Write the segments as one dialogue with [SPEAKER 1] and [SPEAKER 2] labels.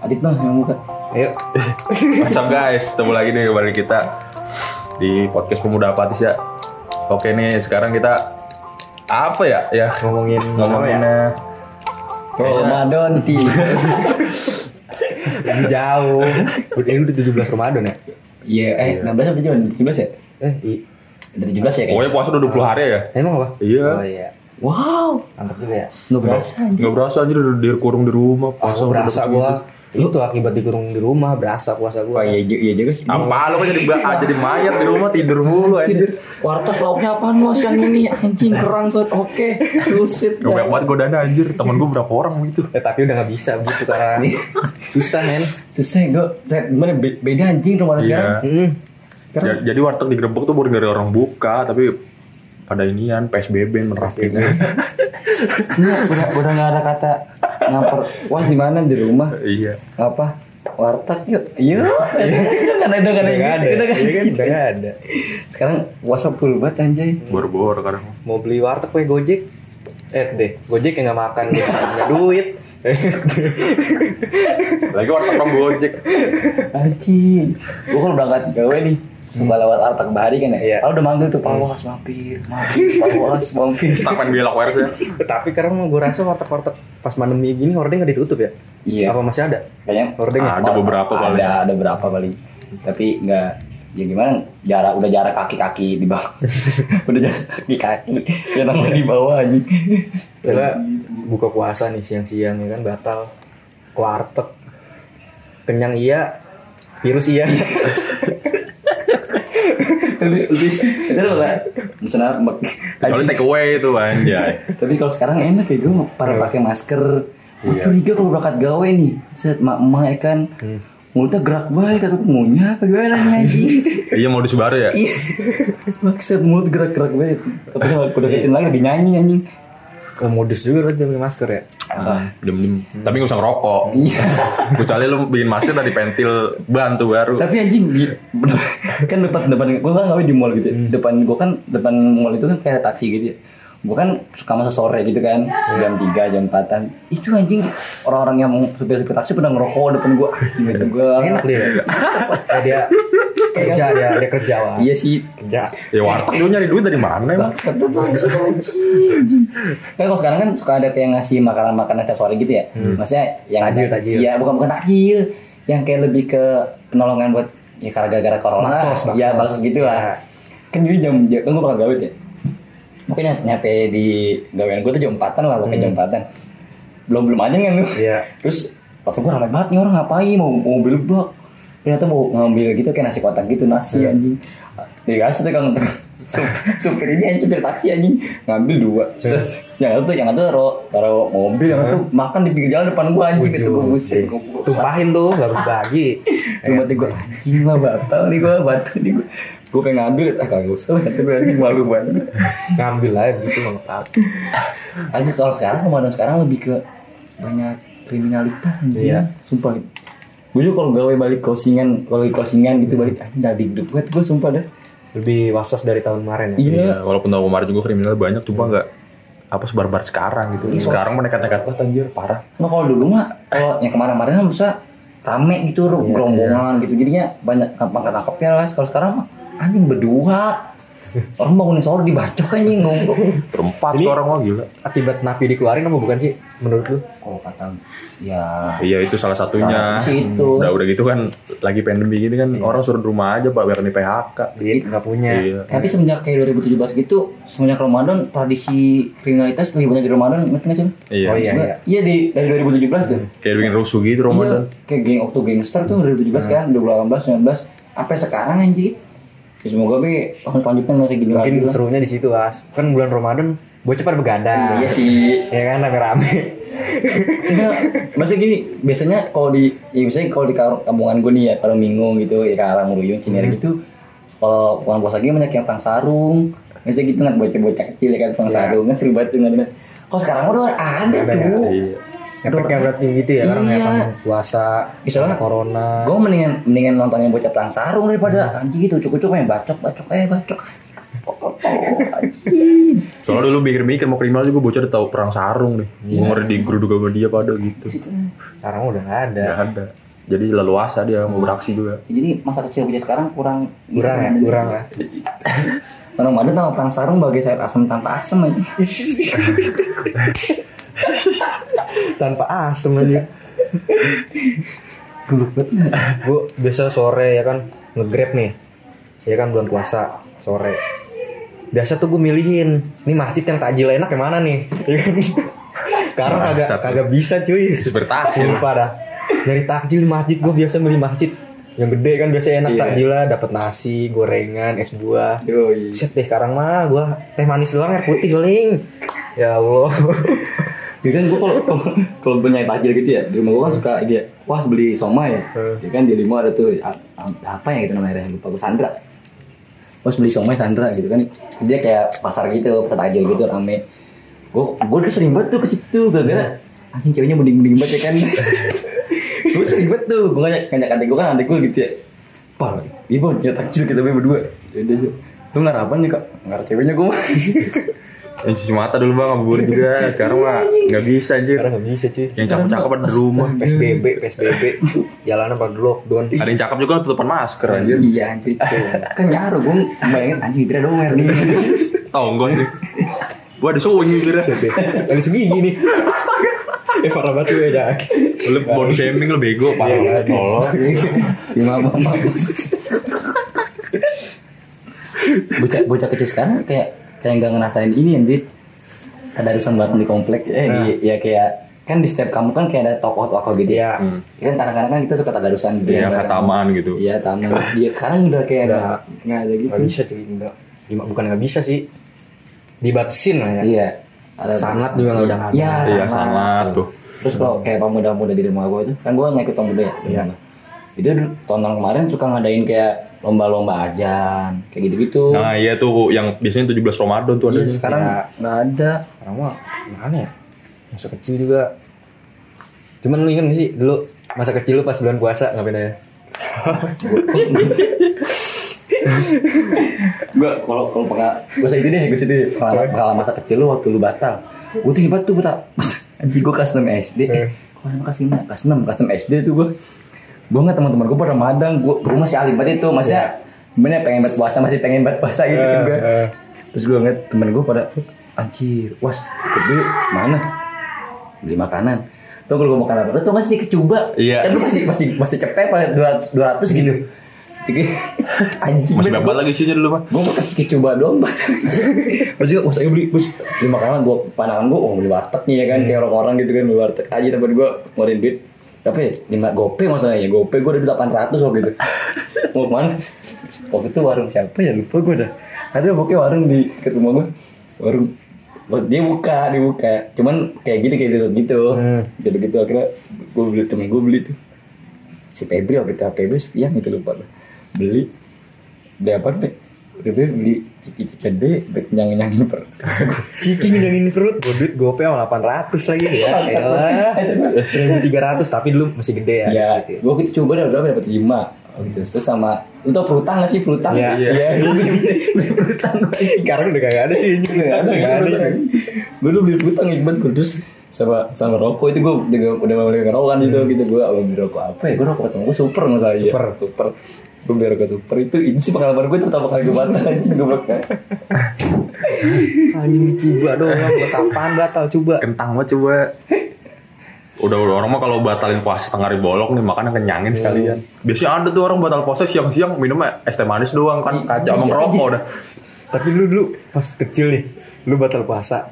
[SPEAKER 1] Adit dong yang buka.
[SPEAKER 2] Ayo. What's up guys? Ketemu lagi nih bareng kita di podcast Pemuda Apatis ya. Oke nih, sekarang kita apa ya? Ya
[SPEAKER 3] ngomongin apa
[SPEAKER 2] ngomonginnya
[SPEAKER 1] Ramadan ti.
[SPEAKER 3] ya? Lebih jauh. Udah ini udah 17 Ramadan ya?
[SPEAKER 1] Iya, eh 16 apa Jon? 17 ya?
[SPEAKER 3] Eh, i,
[SPEAKER 1] Udah 17 ya kayaknya.
[SPEAKER 2] Pokoknya puasa udah 20 hari ya?
[SPEAKER 3] emang apa?
[SPEAKER 2] Iya.
[SPEAKER 3] Oh iya.
[SPEAKER 1] Wow,
[SPEAKER 3] Mantap juga ya.
[SPEAKER 1] nggak berasa anjir.
[SPEAKER 2] Nggak berasa anjir udah dikurung di rumah
[SPEAKER 3] Aku Ah,
[SPEAKER 2] udah
[SPEAKER 3] berasa
[SPEAKER 2] dapet
[SPEAKER 3] gua itu akibat dikurung di rumah berasa puasa
[SPEAKER 1] Wah,
[SPEAKER 3] gua.
[SPEAKER 1] iya, ju- iya juga sih.
[SPEAKER 2] segitu. Apa lu kan jadi ba- ah, jadi mayat di rumah tidur mulu anjir.
[SPEAKER 1] Warteg lauknya apaan mas yang ini anjing kerang sot oke lusit
[SPEAKER 2] Gak banyak banget godaan anjir. Temen gua berapa orang gitu. begitu.
[SPEAKER 3] Eh, tapi udah nggak bisa begitu karena susah men.
[SPEAKER 1] susah gue gimana be- beda anjing Ramadan sekarang
[SPEAKER 2] Iya.
[SPEAKER 3] Hmm.
[SPEAKER 1] Karena-
[SPEAKER 2] Ja- Jadi warteg digerebek tuh bukan dari orang buka, tapi pada inian PSBB menerapin.
[SPEAKER 1] Iya, udah udah nggak ada kata nyamper was di mana di rumah
[SPEAKER 2] Iya.
[SPEAKER 1] apa warteg yuk Iya. yuk udah nggak ada udah nggak ada
[SPEAKER 3] Nggak ada.
[SPEAKER 1] gitu, udah nggak ada
[SPEAKER 3] Iya kan?
[SPEAKER 1] gitu.
[SPEAKER 3] Nggak ada.
[SPEAKER 1] sekarang puasa full banget anjay
[SPEAKER 2] Bor-bor kadang.
[SPEAKER 3] Mau beli warteg pakai Gojek. Eh deh, Gojek yang nggak makan dia nggak punya duit.
[SPEAKER 2] Lagi warteg orang gojek.
[SPEAKER 1] Anjing. Gue kalau berangkat gawe nih suka lewat Artak Bahari kan ya.
[SPEAKER 3] Iya.
[SPEAKER 1] Ah, udah manggil tuh Pak Wawas mampir, mampir, Pak Wawas mampir.
[SPEAKER 2] Stapen belok wires ya.
[SPEAKER 3] Tapi sekarang gue rasa warteg-warteg pas pandemi gini hording nggak ditutup ya?
[SPEAKER 1] Iya.
[SPEAKER 3] Apa masih ada?
[SPEAKER 1] Kayaknya Oh,
[SPEAKER 3] Hording ya?
[SPEAKER 2] Ada beberapa
[SPEAKER 1] ada,
[SPEAKER 2] paling.
[SPEAKER 1] Ada berapa paling. Tapi nggak ya gimana jarak udah jarak kaki-kaki di bawah udah jarak kaki-kaki jangan nambah di bawah aja
[SPEAKER 3] Coba buka puasa nih siang-siang ya kan batal ke warteg. Kenyang iya, virus iya.
[SPEAKER 1] lebih lebih itu lah misalnya
[SPEAKER 2] Kecuali take away itu anjay.
[SPEAKER 1] Tapi kalau sekarang enak ya gue para pakai masker. Gue curiga kalau berangkat gawe nih, set mak emak ya kan. Mulutnya gerak baik atau ngunyah apa gimana nih anjing.
[SPEAKER 2] Iya mau baru ya.
[SPEAKER 1] Iya. Maksud mulut gerak-gerak baik. Tapi kalau udah kecil lagi lebih nyanyi anjing.
[SPEAKER 3] Oh, modus juga berarti pakai masker ya.
[SPEAKER 1] Apa?
[SPEAKER 2] Diem-diem. Tapi gak usah ngerokok.
[SPEAKER 1] Iya.
[SPEAKER 2] Kecuali lu bikin masker dari pentil ban tuh baru. Ya,
[SPEAKER 1] Tapi anjing di, kan depan depan gue kan ngawe di mall gitu. ya. Depan gue kan depan mall itu kan kayak taksi gitu ya. Gue kan suka masuk sore gitu kan jam 3 jam 4an itu anjing orang-orang yang mau supir-supir taksi pada ngerokok depan Ah, gue anjing itu gue
[SPEAKER 3] Enak dia. ya, dia kerja dia, dia kerja lah.
[SPEAKER 1] Iya sih.
[SPEAKER 3] Kerja.
[SPEAKER 1] Iya.
[SPEAKER 2] Ya warteg lu nyari duit dari mana emang?
[SPEAKER 1] Bangsat tuh bangsat anjing. Kan kalau sekarang kan suka ada kayak ngasih makanan-makanan tiap sore gitu ya. Maksudnya yang
[SPEAKER 3] Hmm. Takjil, takjil.
[SPEAKER 1] Iya, bukan bukan takjil. Yang kayak lebih ke penolongan buat ya karena gara-gara corona.
[SPEAKER 3] Baksos, baksos.
[SPEAKER 1] Ya, baksos gitu
[SPEAKER 3] Ya.
[SPEAKER 1] lah. Kan jadi jam jam kan gue bakal gawe tuh ya. Makanya nyampe di gawean gue tuh jam 4-an lah, pokoknya jam
[SPEAKER 3] Hmm.
[SPEAKER 1] 4-an. Belum belum aja kan lu.
[SPEAKER 3] Iya.
[SPEAKER 1] Terus waktu gue ramai banget nih orang ngapain mau mau mobil blok. Ternyata mau ngambil gitu kayak nasi kotak gitu nasi anjing. Dikasih tuh kang Sup- supir ini anjing supir taksi anjing ngambil dua. Set. yang satu yang satu taruh taruh mobil yang satu makan di pinggir jalan depan gua anjing itu gua buset. Gua-
[SPEAKER 3] Tumpahin tuh baru bagi.
[SPEAKER 1] Tuh mati gue anjing lah batal nih gue batal nih gue gue pengen ngambil ah kagak usah lah kata gue anjing malu banget
[SPEAKER 3] Ngambil aja gitu nggak tahu.
[SPEAKER 1] anjing kalau Hmm. sekarang kemarin sekarang lebih ke banyak kriminalitas anjing
[SPEAKER 3] Iya.
[SPEAKER 1] sumpah gue juga kalau gawe balik closingan kalau di closingan gitu balik anjing dari hidup gue gue sumpah dah
[SPEAKER 3] Lebih was-was dari tahun kemarin ya.
[SPEAKER 1] iya
[SPEAKER 2] Iya, walaupun tahun kemarin juga kriminal banyak cuma nggak apa sebar-bar sekarang gitu.
[SPEAKER 1] Iya.
[SPEAKER 2] Sekarang menekat-nekat banget anjir parah.
[SPEAKER 1] Nah kalau dulu mah kalau yang kemarin-kemarin kan bisa rame gitu gerombongan gitu jadinya banyak gampang ketangkep ya lah kalau sekarang mah anjing berdua orang bangunin sahur dibacok anjing ngomong
[SPEAKER 2] Berempat
[SPEAKER 3] Ini-
[SPEAKER 2] tuh orang wah gila.
[SPEAKER 3] Akibat napi dikeluarin apa bukan sih menurut lu?
[SPEAKER 1] kalau kata ya
[SPEAKER 2] Iya itu salah satunya.
[SPEAKER 1] Salah satu sih itu. Iya.
[SPEAKER 2] Udah udah gitu kan lagi pandemi gini kan orang suruh di rumah aja pak biar di PHK.
[SPEAKER 3] Duit nggak punya.
[SPEAKER 2] Iya.
[SPEAKER 1] tapi semenjak kayak 2017 gitu semenjak Ramadan tradisi kriminalitas lebih banyak di Ramadan ngerti nggak sih Bang?
[SPEAKER 2] Iya.
[SPEAKER 3] Oh iya
[SPEAKER 1] Maksudnya,
[SPEAKER 3] iya.
[SPEAKER 1] iya di, dari 2017 tuh
[SPEAKER 2] Kayak bikin rusuh gitu Ramadan.
[SPEAKER 1] Iya, kayak geng waktu gangster tuh 2017 kan 2018 19 sampai sekarang anjir ya semoga be tahun selanjutnya nggak kayak gini
[SPEAKER 3] Mungkin
[SPEAKER 1] lagi lah.
[SPEAKER 3] serunya di situ as. Kan bulan Ramadan bocah pada begadang.
[SPEAKER 1] iya sih
[SPEAKER 3] Ya kan rame-rame.
[SPEAKER 1] Enggak, maksudnya gini, biasanya kalau di ya biasanya kalau di kar- kampungan gue nih ya, kalau minggu gitu, ya ke arah Muruyung,
[SPEAKER 3] Hmm.
[SPEAKER 1] Cinere gitu, kalau bulan puasa gini banyak yang perang sarung, biasanya gitu kan bocah-bocah kecil ya kan perang
[SPEAKER 3] Iya.
[SPEAKER 1] sarung kan seru banget dengan Kalau sekarang udah ada
[SPEAKER 3] Ada ya?
[SPEAKER 1] tuh.
[SPEAKER 2] Iya.
[SPEAKER 3] Efeknya berarti gitu ya karena
[SPEAKER 1] Iya.
[SPEAKER 3] emang puasa,
[SPEAKER 1] Misalnya-
[SPEAKER 3] corona.
[SPEAKER 1] Gue mendingan mendingan nonton yang bocah perang sarung
[SPEAKER 3] Hmm.
[SPEAKER 1] daripada anjing gitu cukup-cukup main bacok bacok eh bacok. Anjing.
[SPEAKER 2] Soalnya dulu mikir-mikir mau kriminal juga bocah udah tahu perang sarung nih. Gue ngeri digeruduk sama dia pada gitu.
[SPEAKER 3] Sekarang udah nggak ada.
[SPEAKER 2] Gak ada. Jadi leluasa dia mau beraksi juga.
[SPEAKER 1] Jadi masa kecil bocah sekarang kurang
[SPEAKER 3] Kurang ya,
[SPEAKER 1] gitu.
[SPEAKER 3] kurang lah.
[SPEAKER 1] Orang Madura sama perang sarung bagai sayur asam tanpa asam aja.
[SPEAKER 3] Tanpa asem aja.
[SPEAKER 1] Geluk banget.
[SPEAKER 3] Gue biasa sore ya kan nge-grab nih. Ya kan bulan puasa sore. Biasa tuh gue milihin, ini masjid yang takjil enak yang mana nih? Ya kan? Karena kagak
[SPEAKER 2] Bangsat.
[SPEAKER 3] kagak bisa cuy.
[SPEAKER 2] Bertaksi lah.
[SPEAKER 3] Sumpah dah. Nyari takjil di masjid gue biasa beli masjid yang gede kan biasanya enak
[SPEAKER 1] Iya.
[SPEAKER 3] takjil lah, dapat nasi, gorengan, es buah.
[SPEAKER 1] Yoi.
[SPEAKER 3] Set deh sekarang mah gua teh manis doang air putih paling. Ya Allah.
[SPEAKER 1] Ya kan gue kalau kalau- kalau punya takjil gitu ya di rumah gue kan suka dia wah beli somai ya.
[SPEAKER 3] Hmm.
[SPEAKER 1] Ya kan di lima ada tuh a- a- apa ya gitu namanya lupa gue Sandra. Terus beli somai Sandra gitu kan dia kayak pasar gitu pasar takjil gitu rame. Gue gue udah sering banget tuh ke situ tuh gara-gara anjing ceweknya mending-mending banget ya kan. gue sering banget tuh gue ngajak ngajak adik gue kan adik gue gitu ya. Par, ibu nyata takjil kita berdua. Yaudah yuk. Lu ngelar apaan nih kak? Ngelar ceweknya gue mah.
[SPEAKER 2] Yang cuci mata dulu bang, ngabuburit juga. Sekarang mah nggak bisa anjir.
[SPEAKER 3] Sekarang nggak bisa cuy.
[SPEAKER 2] Yang cakep-cakep ada di rumah.
[SPEAKER 3] PSBB, PSBB. Jalanan pada lockdown.
[SPEAKER 2] Ada yang cakep juga tutupan masker anjir.
[SPEAKER 1] Iya anjir Kan nyaru gue bayangin anjing Indra domer nih
[SPEAKER 2] Tonggol Oh, sih. Gua ada sunyi kira.
[SPEAKER 3] Dari segigi nih. Eh parah banget lu ya.
[SPEAKER 2] Lu body shaming lu
[SPEAKER 3] Iya,
[SPEAKER 2] bego parah.
[SPEAKER 3] iya.
[SPEAKER 1] Oh,
[SPEAKER 2] Tolong.
[SPEAKER 1] Ya mama mama Bocah, bocah kecil sekarang kayak kayak nggak ngerasain ini anjir Ada rusun batang di komplek eh, di- Ya kayak Kan di setiap kamu kan kayak ada tokoh-tokoh gitu ya
[SPEAKER 3] Iya.
[SPEAKER 1] Ya kan kadang-kadang kan kita suka tadarusan gitu
[SPEAKER 2] Iya,
[SPEAKER 1] ya,
[SPEAKER 2] katamaan gitu.
[SPEAKER 1] Iya taman Dia sekarang udah kayak
[SPEAKER 3] Udah.
[SPEAKER 1] nggak- nggak ada gitu
[SPEAKER 3] Nggak bisa cuy, enggak. Gimana bukan nggak bisa sih. Dibatasin lah ya.
[SPEAKER 1] Iya ada
[SPEAKER 3] Sangat
[SPEAKER 1] tarusan.
[SPEAKER 3] juga nggak udah nggak ada.
[SPEAKER 1] Iya
[SPEAKER 2] Iya,
[SPEAKER 1] sangat.
[SPEAKER 2] sangat tuh.
[SPEAKER 1] Terus kalau kayak pemuda-pemuda di rumah gue itu, kan gue ngikut pemuda ya. di
[SPEAKER 3] Iya.
[SPEAKER 1] rumah. Itu dulu tahun tahun kemarin suka ngadain kayak lomba-lomba ajan, kayak gitu-gitu.
[SPEAKER 2] Nah iya tuh yang biasanya 17 Ramadan tuh ada.
[SPEAKER 1] Iya, sekarang
[SPEAKER 3] Iya.
[SPEAKER 1] nggak ada.
[SPEAKER 3] Sekarang mah gimana ya? Masa kecil juga. Cuman lu inget gak sih dulu masa kecil lu pas bulan puasa ngapain aja?
[SPEAKER 1] gue kalau kalau pengal, gue itu deh, gue itu deh. Pengalaman, pengalaman masa kecil lu waktu lu batal. Gue tuh hebat tuh batal. Anjing gue kelas 6 SD. Eh, Gue kelas 5, kelas 6, kelas 6 SD tuh gue. Gue nggak teman-teman gue pada madang, gue gue masih alim banget itu, maksudnya
[SPEAKER 2] Iya.
[SPEAKER 1] sebenarnya pengen buat puasa, masih pengen buat puasa gitu kan gue. Terus gue ngeliat temen gue pada Anjir, was, ikut dulu mana? Beli makanan Tuh kalau gue makan apa? Lu tau gak sih kecuba?
[SPEAKER 2] Iya.
[SPEAKER 1] Kan lu masih, masih, masih cepet apa 200, 200 gitu Jadi anjing
[SPEAKER 2] Masih berapa lagi sih dulu mah?
[SPEAKER 1] Gue makan kecuba doang Pak. Terus gue, wah saya beli, terus beli makanan gue Pandangan gue, oh beli warteg nih ya kan Kayak orang-orang gitu kan, beli warteg aja temen gue ngeluarin duit Berapa ya? 5 gope maksudnya ya Gope gue udah duit 800 waktu itu Mau kemana? Waktu itu warung siapa ya? Lupa gue dah Ada pokoknya warung di dekat rumah gue Warung Wah, dia buka, dia buka. Cuman kayak gitu kayak gitu gitu.
[SPEAKER 3] Hmm.
[SPEAKER 1] Gitu gitu akhirnya gue beli temen gue beli tuh. Si Febri waktu itu Febri yang itu lupa lah. Beli beli apa nih? Febri beli ciki cikende kenyang kenyangin per.
[SPEAKER 3] Ciki ngidangin perut, gue duit gope sama 800 lagi ya. Elah. 1300 tapi dulu masih gede ya.
[SPEAKER 1] Ya,
[SPEAKER 3] gitu ya.
[SPEAKER 1] gue itu coba udah berapa dapat lima. Oh, gitu. Terus sama lu tau perutang gak sih perutang?
[SPEAKER 3] Iya.
[SPEAKER 1] Gue beli perutang gue.
[SPEAKER 3] Sekarang udah kagak ada sih. anjing.
[SPEAKER 1] Gak ada, gak ada. Gue udah beli hutang ikbat gue terus sama sama rokok itu gue udah udah mau beli rokok kan gitu gitu gue mau beli rokok apa ya gue rokok pertama gue super masalahnya
[SPEAKER 3] Hmm. Super.
[SPEAKER 1] super gue beli rokok super itu itu sih pengalaman gue pertama kali gue batal anjing gue bakal
[SPEAKER 3] Anjing coba dong, buat apaan batal coba.
[SPEAKER 2] Kentang banget coba. Udah udah orang mah kalau batalin puasa tengah hari bolok nih makannya kenyangin sekalian. Biasanya ada tuh orang batal puasa siang-siang minumnya es teh manis doang kan kaca sama rokok udah.
[SPEAKER 3] Tapi lu dulu pas kecil nih, lu batal puasa.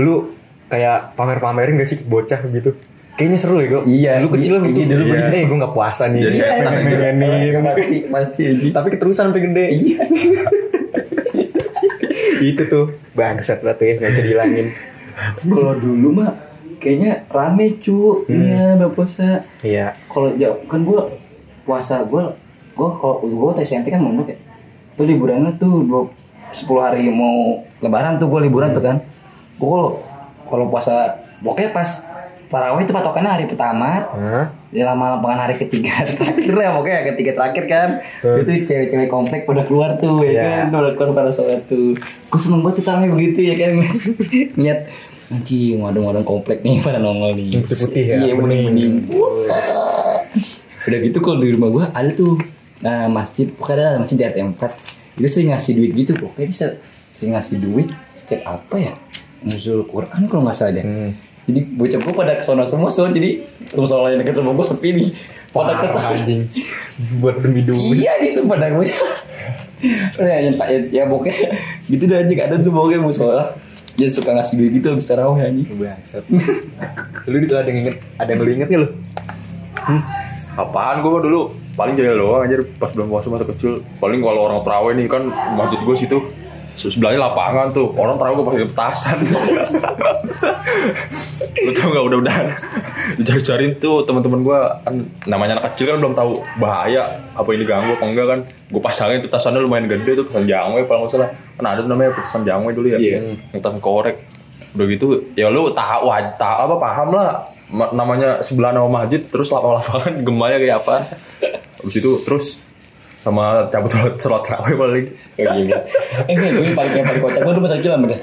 [SPEAKER 3] Lu kayak pamer-pamerin gak sih ke bocah gitu? Kayaknya seru ya, gue.
[SPEAKER 1] Iya,
[SPEAKER 3] Lu kecil
[SPEAKER 1] iya,
[SPEAKER 3] gitu.
[SPEAKER 1] iya, dulu Iya,
[SPEAKER 3] Eh,
[SPEAKER 2] begitu.
[SPEAKER 3] gue gak puasa nih.
[SPEAKER 2] Jadi setan aja.
[SPEAKER 3] Pengen-pengenin.
[SPEAKER 1] pasti pasti anjing
[SPEAKER 3] Iya, Tapi keterusan sampai gede.
[SPEAKER 1] Iya.
[SPEAKER 3] Itu tuh bangsat banget ya, gak bisa dihilangin.
[SPEAKER 1] kalau dulu mah kayaknya rame cu iya mbak puasa
[SPEAKER 3] Iya.
[SPEAKER 1] kalau jauh kan gue puasa gue gue kalau gue waktu SMP kan mondok ya itu liburannya tuh dua sepuluh hari mau lebaran tuh gue liburan tuh kan gue kalau kalau puasa pokoknya pas Parawih itu patokannya hari pertama,
[SPEAKER 3] Hah?
[SPEAKER 1] ya lama bukan hari ketiga terakhir ya pokoknya ketiga terakhir kan
[SPEAKER 3] Hmm.
[SPEAKER 1] itu cewek-cewek komplek pada keluar tuh ya
[SPEAKER 3] Iya.
[SPEAKER 1] kan pada keluar pada sholat tuh gue seneng banget tuh caranya begitu ya kan lihat anjing ngadong-ngadong komplek nih pada nongol nih
[SPEAKER 3] Putih-putih ya,
[SPEAKER 1] iya bening-bening Wah. udah gitu kalau di rumah gue ada tuh nah, masjid pokoknya ada masjid di RT 4 itu sering ngasih duit gitu pokoknya dia ser- sering ngasih duit setiap apa ya musul Quran kalau nggak salah deh
[SPEAKER 3] Hmm.
[SPEAKER 1] jadi bocah gue pada kesana semua soal jadi musola yang deket rumah gue sepi nih pada
[SPEAKER 3] Parah,
[SPEAKER 1] kesana
[SPEAKER 3] anjing. Buat demi duit.
[SPEAKER 1] iya nih sumpah dah gue udah ya nyentak ya, ya bokeh gitu dah anjing ada tuh bokeh musola dia suka ngasih duit gitu abis tarawih anjing
[SPEAKER 3] Bangsat. Iya, lu
[SPEAKER 2] gitu
[SPEAKER 3] itu ada yang inget, ada yang lu inget gak lu?
[SPEAKER 2] Hmm? Apaan gue dulu paling jahil doang anjir pas belum puasa masa kecil paling kalau orang terawih nih kan masjid gue situ sebelahnya lapangan tuh orang terawih gue pakai petasan lu tau gak udah udahan dicari-cariin tuh teman-teman gue kan namanya anak kecil kan belum tahu bahaya apa ini ganggu apa enggak kan gue pasangin petasannya lumayan gede tuh petasan jangwe kalau nggak salah kan ada tuh namanya petasan jangwe dulu ya
[SPEAKER 1] Iya.
[SPEAKER 2] yang petasan korek udah gitu ya lu tahu tahu apa paham lah Ma- namanya sebelah nama masjid terus lapangan-lapangan gemaya kayak apa habis itu terus sama cabut sholat- sholat terawih paling
[SPEAKER 1] kayak gini eh gue yang paling yang paling kocak gue dulu pas kecil sama deh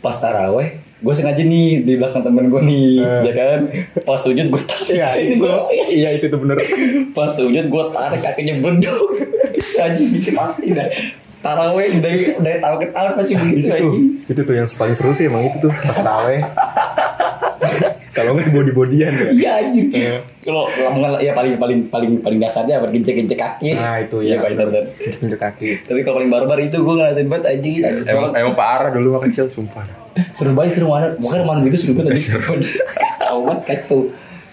[SPEAKER 1] pas tarawih gue sengaja nih di belakang temen gue nih
[SPEAKER 3] Eh.
[SPEAKER 1] ya kan pas sujud gue tarik
[SPEAKER 3] Iya
[SPEAKER 1] ini
[SPEAKER 3] itu,
[SPEAKER 1] gue
[SPEAKER 3] iya itu tuh bener.
[SPEAKER 1] pas sujud gue tarik kakinya beduk anjing bikin pasti dah taraweh dari dari tahun ke tahun pasti begitu
[SPEAKER 3] Nah, itu tuh,
[SPEAKER 1] anjing
[SPEAKER 3] itu tuh yang paling seru sih emang itu tuh pas tawe. Kalau nggak body bodian ya.
[SPEAKER 1] iya anjing kalau lamongan ya paling paling paling paling dasarnya bergencek gencek kaki
[SPEAKER 3] Nah itu
[SPEAKER 1] Iya,
[SPEAKER 3] ya.
[SPEAKER 1] paling dasar
[SPEAKER 3] Injek kaki.
[SPEAKER 1] tapi kalau paling barbar itu gue ngerasain banget anjing anjing.
[SPEAKER 2] emang emang parah dulu mah kecil sumpah
[SPEAKER 1] seru banget itu rumah bukan rumah gitu seru banget anjing. kacau banget kacau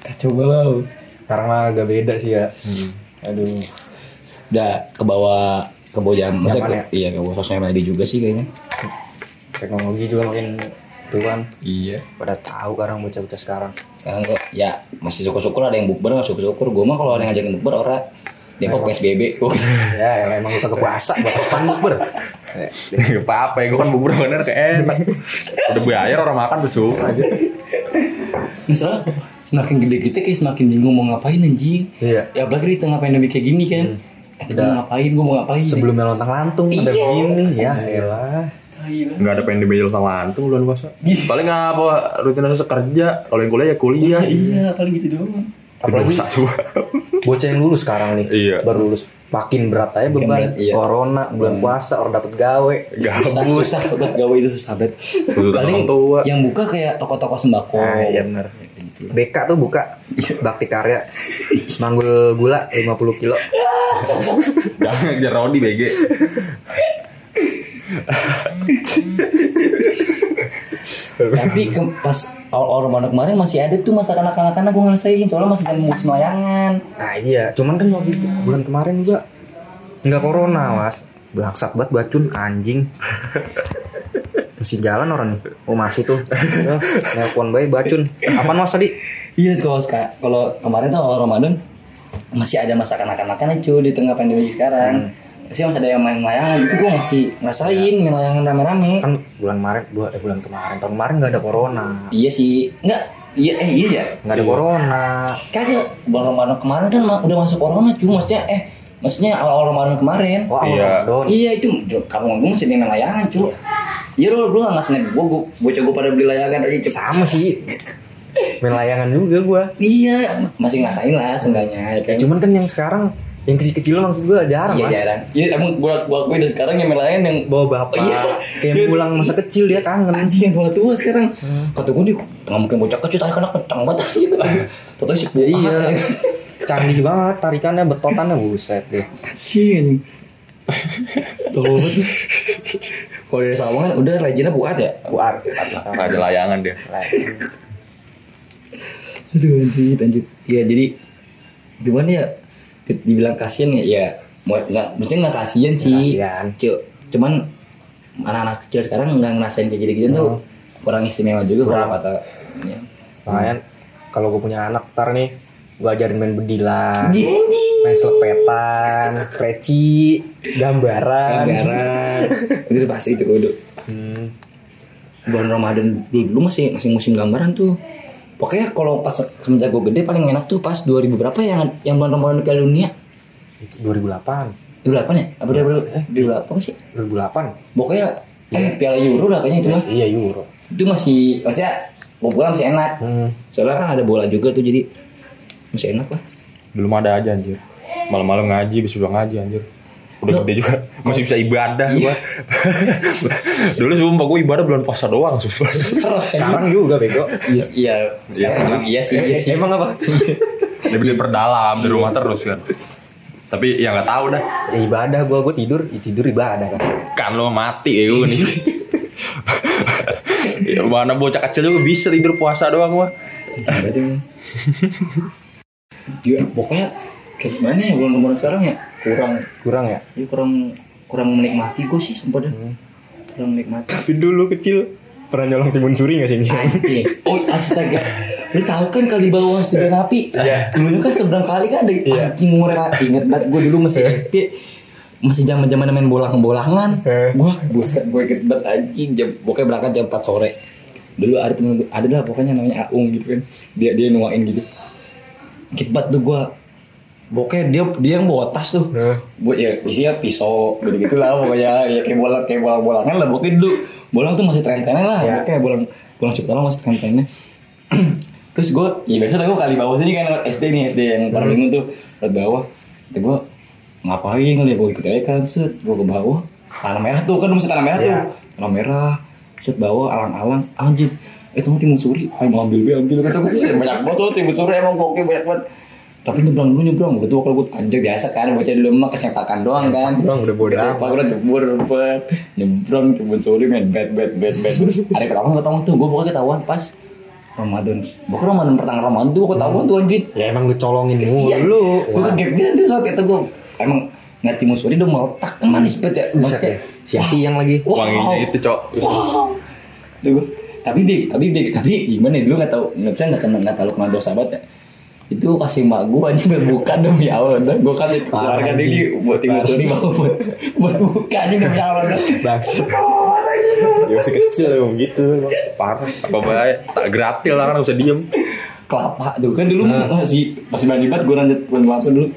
[SPEAKER 1] kacau banget
[SPEAKER 3] Sekarang mah agak beda sih ya.
[SPEAKER 1] Hmm.
[SPEAKER 3] Aduh.
[SPEAKER 1] udah ke bawah ke bawah jam masa
[SPEAKER 3] Zaman
[SPEAKER 1] ke,
[SPEAKER 3] ya?
[SPEAKER 1] iya ke bawah sosial media juga sih kayaknya
[SPEAKER 3] Teknologi juga makin tuh kan
[SPEAKER 1] iya
[SPEAKER 3] pada tahu sekarang bocah-bocah sekarang.
[SPEAKER 1] sekarang kok ya masih syukur-syukur ada yang bukber nggak syukur-syukur gue mah kalau ada yang ngajakin bukber ora Depok PSBB Gua- gitu.
[SPEAKER 3] Ya elah, emang kita kepuasa buat apaan bukber.
[SPEAKER 2] Gak apa-apa ya, gue kan bubur bener kayak enak Udah bayar orang makan tuh suka aja
[SPEAKER 1] misalnya semakin gede kita kayak semakin bingung mau ngapain anjing
[SPEAKER 3] Iya.
[SPEAKER 1] ya apalagi di tengah pandemi kayak gini kan Eh, gua mau ngapain gue mau ngapain
[SPEAKER 3] Sebelumnya lontang lantung ada
[SPEAKER 1] Iya.
[SPEAKER 3] gini ya elah.
[SPEAKER 1] Ah,
[SPEAKER 2] Gak ada pengen dibayar sama antum bulan puasa Paling apa, rutinitas kerja Kalau yang kuliah ya kuliah
[SPEAKER 1] iya paling gitu doang
[SPEAKER 2] Sudah
[SPEAKER 3] Apalagi-
[SPEAKER 2] usah coba
[SPEAKER 3] bocah yang lulus sekarang nih
[SPEAKER 2] Iya.
[SPEAKER 3] baru lulus makin berat aja beban
[SPEAKER 1] berat, iya.
[SPEAKER 3] corona bulan puasa orang dapat gawe
[SPEAKER 1] susah
[SPEAKER 2] Gabus
[SPEAKER 1] susah buat gawe itu susah banget
[SPEAKER 2] Tuntutan orang tua.
[SPEAKER 1] yang buka kayak toko-toko sembako
[SPEAKER 3] nah iya bener BK tuh buka bakti karya manggul gula 50 kilo
[SPEAKER 2] Jangan ngejar Rodi BG
[SPEAKER 1] tapi ke, pas awal-awal Ramadan kemarin masih ada tuh masa kanak-kanakan gue ngerasain soalnya masih ada musim layangan
[SPEAKER 3] nah iya cuman kan waktu itu, bulan kemarin juga nggak corona mas bangsat banget bacun anjing masih jalan orang nih oh masih tuh Eh, nelpon bayi bacun apaan mas tadi
[SPEAKER 1] Iya kalau seka- kalau kemarin tuh awal Ramadan masih ada masa kanak-kanakan cu di tengah pandemi sekarang.
[SPEAKER 3] Hmm.
[SPEAKER 1] Masih masih ada yang main layangan itu gue masih ngerasain main layangan rame-rame.
[SPEAKER 3] Iya. kan bulan kemarin dua eh, bulan kemarin tahun kemarin nggak ada corona
[SPEAKER 1] Iya sih. Enggak. Iya eh iya ya.
[SPEAKER 3] nggak ada corona
[SPEAKER 1] Kagak bulan Ramadan kemarin kan ma- udah masuk corona cu maksudnya eh maksudnya awal Ramadan kemarin.
[SPEAKER 3] oh awal
[SPEAKER 2] Iya.
[SPEAKER 3] Ramadan.
[SPEAKER 1] Iya itu kamu gue masih main layangan cu. Iya lu lu nggak snap gue gue bocah gue pada beli layangan aja cu.
[SPEAKER 3] sama sih main layangan juga gua
[SPEAKER 1] Iya masih ngasain lah seenggaknya. Ya,
[SPEAKER 3] ya
[SPEAKER 1] kan?
[SPEAKER 3] cuman kan yang sekarang yang kecil-kecil maksud gua jarang
[SPEAKER 1] Iya
[SPEAKER 3] mas
[SPEAKER 1] jarang. Iya emang gue gue akui dari sekarang yang main layangan yang
[SPEAKER 3] bawa bapak
[SPEAKER 1] Oh, iya.
[SPEAKER 3] kayak
[SPEAKER 1] Dia-
[SPEAKER 3] pulang masa kecil dia kangen
[SPEAKER 1] anjing yang tua tua sekarang
[SPEAKER 3] Hmm.
[SPEAKER 1] kata gue nih nggak mungkin bocah kecil tarik anak kencang banget anjing Tau-tau si
[SPEAKER 3] Ya,
[SPEAKER 1] buah
[SPEAKER 3] iya
[SPEAKER 1] ya.
[SPEAKER 3] canggih banget tarikannya betotannya buset deh
[SPEAKER 1] anjing anjing Tau banget kalau dari Sabang kan udah legendnya buat ya
[SPEAKER 3] buat
[SPEAKER 2] Gak ada layangan dia
[SPEAKER 1] aduh anjing lanjut ya jadi cuman ya di- dibilang kasihan ya ya mau- nggak maksudnya nggak kasihan sih
[SPEAKER 3] Kasihan.
[SPEAKER 1] Cu- cuman anak-anak kecil sekarang nggak ngerasain kayak gitu-gitu tuh Oh. kurang istimewa juga kalau
[SPEAKER 3] Kurang.
[SPEAKER 1] kata ya.
[SPEAKER 3] makanya kalau gua punya anak ntar nih gua ajarin main bedilan
[SPEAKER 1] Gini.
[SPEAKER 3] main selepetan peci gambaran,
[SPEAKER 1] Anggaran. itu udah pasti itu kudu.
[SPEAKER 3] Hmm.
[SPEAKER 1] Bulan Ramadan dulu, dulu masih masih musim gambaran tuh. Pokoknya kalau pas semenjak gue gede paling enak tuh pas 2000 berapa yang yang bulan Ramadan Piala Dunia?
[SPEAKER 3] Itu 2008
[SPEAKER 1] 2008 ya? Apa 2008 2008 sih?
[SPEAKER 3] 2008
[SPEAKER 1] Pokoknya eh Piala Euro lah kayaknya itu mah.
[SPEAKER 3] iya Euro
[SPEAKER 1] Itu masih maksudnya bola masih enak.
[SPEAKER 3] hmm.
[SPEAKER 1] Soalnya kan ada bola juga tuh jadi masih enak lah.
[SPEAKER 2] Belum ada aja anjir. Malam-malam ngaji, bisa bilang ngaji anjir. Udah gede juga, masih bisa ibadah gua. Dulu sumpah gua ibadah bulan puasa doang sumpah.
[SPEAKER 3] sekarang juga bego
[SPEAKER 1] Iya, iya, emang iya sih, iya sih.
[SPEAKER 3] emang apa
[SPEAKER 2] Lebih diperdalam di rumah terus kan. Tapi ya nggak tahu dah.
[SPEAKER 3] ya ibadah gua gua tidur ya tidur ibadah kan
[SPEAKER 2] Kan lo mati ya gua nih. Ya, mana bocah kecil juga bisa tidur puasa doang gua.
[SPEAKER 1] Berarti emang. Dia Iya, pokoknya kayak gimana ya bulan Ramadan sekarang ya? Kurang,
[SPEAKER 3] kurang ya
[SPEAKER 1] ya kurang kurang menikmati gue sih sumpah dah. Kurang menikmati.
[SPEAKER 3] tapi dulu kecil pernah nyolong timun suri gak sih
[SPEAKER 1] Anjing. Oh, astaga. Lu tahu kan kali bawah sudah rapi. Dulu kan seberang kali kan ada anjing murah. Ingat banget gue dulu masih SD masih zaman zaman main bolang bolangan
[SPEAKER 3] Eh.
[SPEAKER 1] gue buset gue inget banget anjing jam pokoknya berangkat jam 4 sore dulu ada temen ada lah pokoknya namanya Aung gitu kan dia dia nuain gitu Inget banget tuh gue pokoknya dia dia yang bawa tas tuh buat ya isinya pisau gitu gitulah pokoknya ya kayak bola kayak bola bolangan lah pokoknya dulu bolang tuh masih tren trennya lah
[SPEAKER 3] Ya.
[SPEAKER 1] kayak bolang bolang Ciptaan masih tren trennya terus gue ya biasa gue kali bawah sini kan lewat SD nih SD yang
[SPEAKER 3] Hmm.
[SPEAKER 1] Paralinggo tuh lewat bawah kata gue ngapain kali gue ikut aja kan set gue ke bawah tanah merah tuh kan masih tanah merah
[SPEAKER 3] Ya.
[SPEAKER 1] tuh tanah merah set bawah alang-alang anjir itu mau timun suri ayo mau ambil gue ambil kata gue "Buset, banyak banget tuh timun suri emang oke banyak banget tapi nyebrang dulu nyebrang udah tua kalau gue anjir biasa kan bocah dulu mah kesempakan doang kan
[SPEAKER 3] doang, udah bodo
[SPEAKER 1] Kesepak,
[SPEAKER 3] amat.
[SPEAKER 1] udah jebur rumpet nyebrang timun suri main bet bet bet bet Terus hari pertama ketahuan tuh gue pokoknya ketahuan pas Ramadan Pokoknya Ramadan pertengahan Ramadan tuh gue ketahuan tuh anjir
[SPEAKER 3] ya emang lu colongin
[SPEAKER 1] Iya.
[SPEAKER 3] mulu
[SPEAKER 1] Gue kaget gitu terus waktu itu gue emang ngeliat timun suri udah meletak kan manis banget ya
[SPEAKER 3] Buset
[SPEAKER 1] Maksudnya,
[SPEAKER 3] ya siang-siang lagi
[SPEAKER 1] Wow.
[SPEAKER 2] Wanginya itu, Cok.
[SPEAKER 1] Wow. Tuh gua, tapi dik, tapi dik, tapi gimana ya? dulu nggak tahu, nggak tahu nggak kena nggak tahu kena dosa banget ya. Itu kasih mak gua aja buat buka demi Allah, dan gua kasih
[SPEAKER 3] Parah,
[SPEAKER 1] keluarga
[SPEAKER 3] anjing.
[SPEAKER 1] ini buat timun suri mau buat buat buka aja demi Allah. dah.
[SPEAKER 3] Bangsat. ya masih kecil emang gitu emang.
[SPEAKER 2] Parah. Apa bahaya? Tak gratil lah kan nggak bisa diem.
[SPEAKER 1] Kelapa tuh kan dulu
[SPEAKER 3] Nah.
[SPEAKER 1] masih masih banyak banget gua lanjut bulan kelapa dulu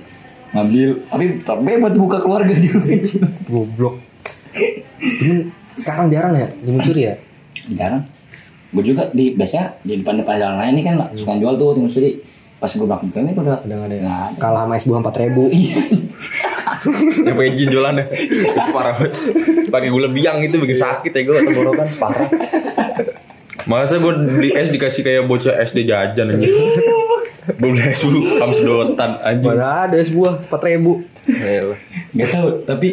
[SPEAKER 1] ngambil, tapi tapi buat buka keluarga juga. anjing.
[SPEAKER 3] goblok cuman sekarang jarang ya timun suri ya
[SPEAKER 1] jarang gue juga di biasanya di depan depan jalan lain ini kan suka jual tuh timun suri pas gue berangkat ke ini udah
[SPEAKER 3] Udah nggak ada ya?
[SPEAKER 1] nggak ada.
[SPEAKER 3] kalah sama es buah empat ribu
[SPEAKER 1] Iya.
[SPEAKER 2] Yang pakai jinjolan ya. Itu parah banget. Pakai gula biang itu bikin sakit eh, ya gue tenggorokan parah. Masa gue beli es dikasih kayak bocah SD jajan aja. Gue beli es dulu sama sedotan aja.
[SPEAKER 3] mana ada es buah empat ribu
[SPEAKER 1] nggak tahu tapi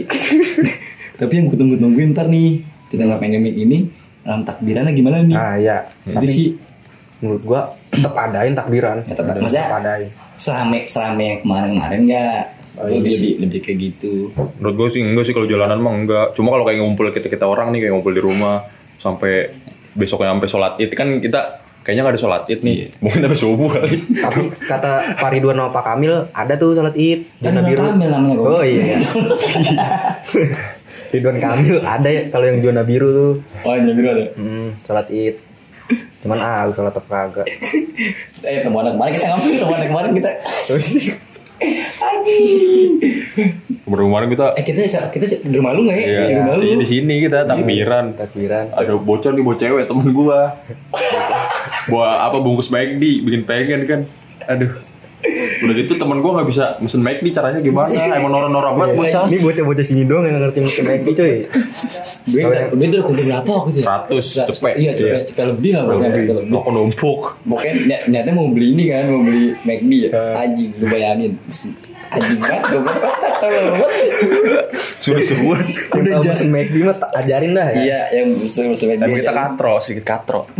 [SPEAKER 1] tapi yang gue tunggu tungguin ntar nih di tengah pandemi ini dalam takbirannya gimana nih
[SPEAKER 3] nah ya
[SPEAKER 1] jadi sih
[SPEAKER 3] menurut gua tetap adain takbiran
[SPEAKER 1] Ya, tetap- maksudnya-
[SPEAKER 3] adain
[SPEAKER 1] selame selame yang kemarin kemarin nggak Gua
[SPEAKER 3] Oh, iya
[SPEAKER 1] lebih,
[SPEAKER 3] sih.
[SPEAKER 1] lebih kayak gitu
[SPEAKER 2] Menurut gue sih enggak sih kalau jalanan mah enggak. Cuma kalau kayak ngumpul kita kita orang nih kayak ngumpul di rumah sampai besoknya sampai sholat id kan kita kayaknya nggak ada sholat id nih. Mungkin sampai subuh kali.
[SPEAKER 3] tapi kata Pak Ridwan sama Pak Kamil ada tuh sholat id
[SPEAKER 1] Kan
[SPEAKER 3] zona
[SPEAKER 1] Ridwan
[SPEAKER 3] biru
[SPEAKER 1] Kamil namanya, goblok.
[SPEAKER 3] oh iya Ridwan Kamil ada ya kalau yang zona biru tuh
[SPEAKER 1] oh yang biru ada
[SPEAKER 3] hmm, sholat id cuman ah lu sholat apa kagak
[SPEAKER 1] eh permohonan kemarin kita ngambil permohonan kemarin kita
[SPEAKER 2] Kemarin kita
[SPEAKER 1] eh kita kita di rumah lu nggak ya di rumah
[SPEAKER 2] Iya,
[SPEAKER 1] lu
[SPEAKER 2] iya, di sini kita takbiran.
[SPEAKER 3] takbiran
[SPEAKER 2] ada bocor nih buat cewek temen gua buat apa bungkus McD bikin pengen kan aduh udah gitu temen gua nggak bisa mesen McD caranya gimana emang norak-norak banget bocah
[SPEAKER 3] Ini bocah-bocah sini doang yang ngerti mesin Maggi coy.
[SPEAKER 1] duit duit udah kumpul berapa waktu itu ya?
[SPEAKER 2] 100 cepet.
[SPEAKER 1] iya
[SPEAKER 2] Iya.
[SPEAKER 1] cepet cepet lebih lah pokoknya cepet lebih
[SPEAKER 2] Nokon numpuk
[SPEAKER 1] Pokoknya ny- nyatanya mau beli ini kan, mau beli McD ya. Anjing, lu bayangin. Anjing banget, gue banget.
[SPEAKER 2] suruh-suruan
[SPEAKER 3] Udah mesin Maggi mah ta- ajarin dah ya.
[SPEAKER 1] Iya, yang musuh-musuh McD.
[SPEAKER 2] emang kita katro sedikit katro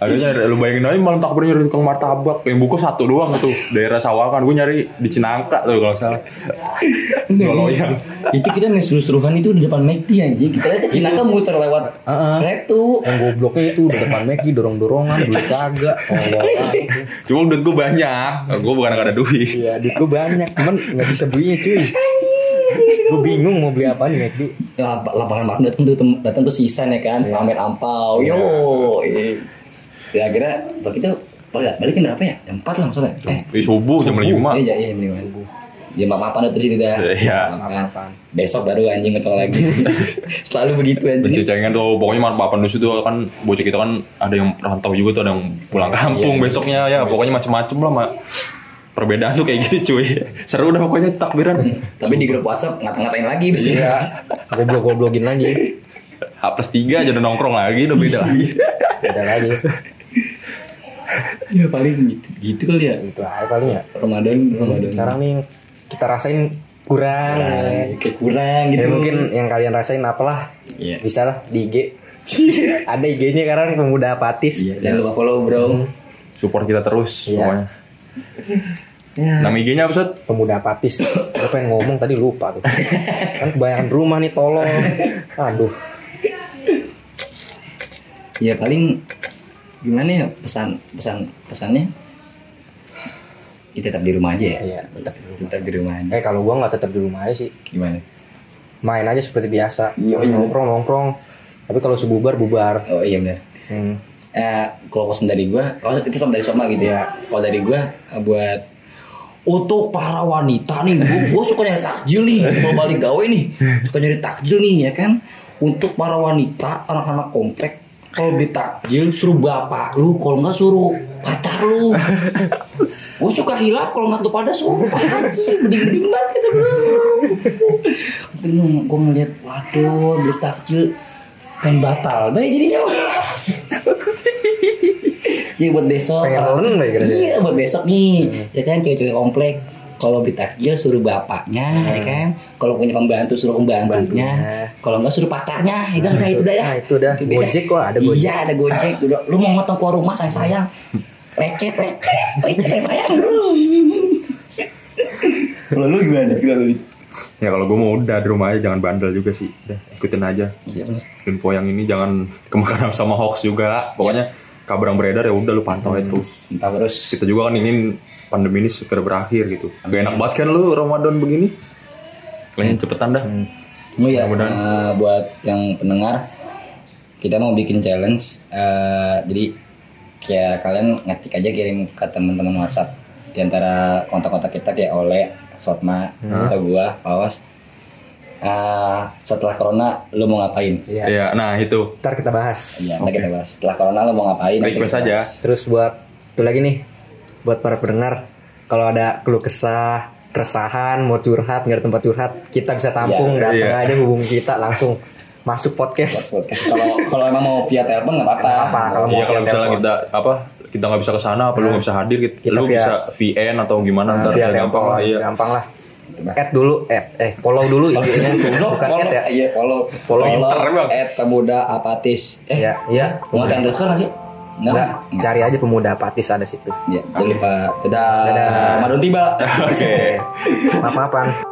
[SPEAKER 2] Akhirnya ada- lu bayangin aja malam takbirnya dari tukang martabak Yang buka satu doang tuh Daerah Sawakan Gue nyari di Cinangka tuh kalau nggak salah Gak loyang
[SPEAKER 1] Itu kita nih suruh-suruhan itu di depan McD anjing. Kita lihat Cina kan muter lewat
[SPEAKER 3] Heeh.
[SPEAKER 1] retu.
[SPEAKER 3] Yang gobloknya itu di depan Maggi dorong-dorongan duit kagak. Oh, iya, Tolong.
[SPEAKER 2] Cuma duit gue banyak Gue bukan gak ada duit
[SPEAKER 3] Iya, duit gue banyak, cuman nggak bisa belinya cuy. Gue bingung mau beli apaan di Maggi.
[SPEAKER 1] ya Lap- Lapangan makan datang tuh tem- datang tuh sisan ya kan, pamer ampau. Yo. eh. Ya akhirnya begitu balik, balikin berapa ya? Jam 4 lah maksudnya. Eh,
[SPEAKER 2] Ih, Iya. subuh jam lima.
[SPEAKER 1] iya iya iya
[SPEAKER 3] Subuh.
[SPEAKER 1] Ya maaf apa itu sih tidak?
[SPEAKER 2] Iya.
[SPEAKER 3] Makan-makan.
[SPEAKER 1] Besok baru anjing ngecol lagi. Selalu begitu anjing.
[SPEAKER 2] Bercecengan tuh pokoknya mah papan itu kan bocah kita kan ada yang rantau juga tuh ada yang pulang kampung
[SPEAKER 1] Iya.
[SPEAKER 2] besoknya ya pokoknya macem-macem lah mak perbedaan tuh kayak gitu cuy seru dah pokoknya takbiran
[SPEAKER 1] Tapi di grup WhatsApp ngata-ngatain lagi besi. Iya.
[SPEAKER 3] Goblok-goblokin Iya. lagi.
[SPEAKER 2] H plus tiga aja udah nongkrong lagi udah beda lagi
[SPEAKER 3] Beda lagi.
[SPEAKER 1] Ya paling gitu gitu kali ya.
[SPEAKER 3] Itu aja paling ya.
[SPEAKER 1] Ramadan Ramadan.
[SPEAKER 3] Sekarang nih yang kita rasain kurang. ya.
[SPEAKER 1] Kurang, kayak kurang gitu
[SPEAKER 3] Ya mungkin yang kalian rasain apalah.
[SPEAKER 1] Iya.
[SPEAKER 3] Bisa lah di IG. Ada IG-nya sekarang pemuda apatis.
[SPEAKER 1] Iya, jangan lupa follow bro.
[SPEAKER 3] Hmm.
[SPEAKER 2] support kita terus
[SPEAKER 3] Iya.
[SPEAKER 2] pokoknya
[SPEAKER 3] Ya.
[SPEAKER 2] nama IG-nya apa Sat?
[SPEAKER 3] Nah, Pemuda apatis. Gue pengen ngomong tadi lupa tuh. Kan kebanyakan rumah nih tolong. Aduh.
[SPEAKER 1] Ya paling gimana ya pesan pesan pesannya? Kita tetap di rumah aja ya.
[SPEAKER 3] Iya, tetap di rumah.
[SPEAKER 1] Tetap di rumah aja.
[SPEAKER 3] Eh kalau gua nggak tetap di rumah aja sih.
[SPEAKER 1] Gimana?
[SPEAKER 3] Main aja seperti biasa.
[SPEAKER 1] Iya, iya.
[SPEAKER 3] nongkrong nongkrong. Tapi kalau sebubar bubar.
[SPEAKER 1] Oh iya benar.
[SPEAKER 3] Hmm.
[SPEAKER 1] Eh, kalau pesan dari gua, kalau itu sama dari Soma gitu ya. Kalau dari gua eh, buat untuk para wanita nih, gua, gua suka nyari takjil nih, kalau balik gawe nih, suka nyari takjil nih ya kan. Untuk para wanita, anak-anak komplek, kalau beli takjil suruh bapak lu, kalau nggak suruh pacar lu. Gua suka hilap kalau nggak lu pada suruh lupa haji, mending-mending banget kata gua. Tapi lu- gua ngeliat, waduh, beli takjil pengen batal, deh jadinya. Iya buat besok.
[SPEAKER 3] Pengen
[SPEAKER 1] orang-
[SPEAKER 3] loreng lagi kerjanya.
[SPEAKER 1] Iya buat besok nih.
[SPEAKER 3] Hmm.
[SPEAKER 1] Ya kan cewek-cewek komplek kalau beli takjil suruh bapaknya, ya kan. Kalau punya pembantu suruh
[SPEAKER 3] Hmm. Pembantunya.
[SPEAKER 1] pembantunya. Kalau enggak suruh pacarnya. Ya udah, udah, itu udah.
[SPEAKER 3] Nah, itu udah.
[SPEAKER 1] beda.
[SPEAKER 3] Gojek kok, ada Gojek.
[SPEAKER 1] Iya ada gojek. Udah, lu mau ngotong keluar rumah sayang sayang. Lecet lecet lecet sayang sayang. Kalau lu gimana? Gimana lu?
[SPEAKER 2] ya kalau gue mau udah di rumah aja jangan bandel juga sih udah ikutin aja
[SPEAKER 1] Iya bener.
[SPEAKER 2] info yang ini jangan kemakan sama hoax juga pokoknya
[SPEAKER 3] Iya.
[SPEAKER 2] kabar yang beredar ya udah lu pantau
[SPEAKER 3] Hmm.
[SPEAKER 2] aja terus
[SPEAKER 1] Entah terus.
[SPEAKER 2] kita juga kan ingin pandemi ini segera berakhir gitu. Gak enak banget kan lu Ramadan begini? Kayaknya cepetan dah.
[SPEAKER 1] Oh iya,
[SPEAKER 2] Mudah-mudahan.
[SPEAKER 1] eh, buat yang pendengar kita mau bikin challenge. eh, jadi kayak kalian ngetik aja kirim ke teman-teman WhatsApp di antara kontak-kontak kita kayak Ole, Sotma, atau gua, Pawas. Eh, setelah corona lu mau ngapain?
[SPEAKER 3] Iya.
[SPEAKER 2] Iya, nah itu.
[SPEAKER 3] Ntar kita bahas.
[SPEAKER 1] Iya, nanti kita bahas. Setelah corona lu mau ngapain? Nanti
[SPEAKER 2] Request
[SPEAKER 1] kita
[SPEAKER 2] aja.
[SPEAKER 1] bahas.
[SPEAKER 3] Terus buat itu lagi nih buat para pendengar kalau ada keluh kesah, keresahan, mau curhat, nggak ada tempat curhat, kita bisa tampung
[SPEAKER 2] Iya,
[SPEAKER 3] datang
[SPEAKER 2] iya.
[SPEAKER 3] aja hubungi kita langsung masuk podcast.
[SPEAKER 1] Podcast. Kalau kalau emang mau via telepon nggak apa-apa.
[SPEAKER 3] Nggak apa-apa, kalau-
[SPEAKER 2] Iya kalau
[SPEAKER 3] Mau
[SPEAKER 2] misalnya
[SPEAKER 3] telepon. Nah.
[SPEAKER 2] kita apa kita nggak bisa ke sana, apa lu nggak bisa hadir, kita,
[SPEAKER 3] Kita
[SPEAKER 2] lu
[SPEAKER 3] via-
[SPEAKER 2] bisa VN atau gimana
[SPEAKER 3] Nah,
[SPEAKER 2] ntar
[SPEAKER 3] via
[SPEAKER 2] ya, gampang
[SPEAKER 3] telepon,
[SPEAKER 2] lah iya.
[SPEAKER 3] gampang lah.
[SPEAKER 1] Gitu lah.
[SPEAKER 3] Add dulu, add, eh follow dulu IG-nya.
[SPEAKER 1] Follow,
[SPEAKER 3] Bukan add
[SPEAKER 1] follow,
[SPEAKER 2] eh.
[SPEAKER 3] ya.
[SPEAKER 1] iya, follow,
[SPEAKER 3] Follow.
[SPEAKER 2] Ntar, Bang.
[SPEAKER 1] at pemuda apatis. Eh,
[SPEAKER 3] Iya, iya.
[SPEAKER 1] Nggak ada underscore nggak sih? Nggak.
[SPEAKER 3] Nggak, cari aja pemuda apatis ada situ.
[SPEAKER 1] Ya, jangan lupa. Dadah.
[SPEAKER 3] Dadah.
[SPEAKER 1] Ramadan tiba.
[SPEAKER 2] Oke.
[SPEAKER 3] Eh, Maaf-maafan.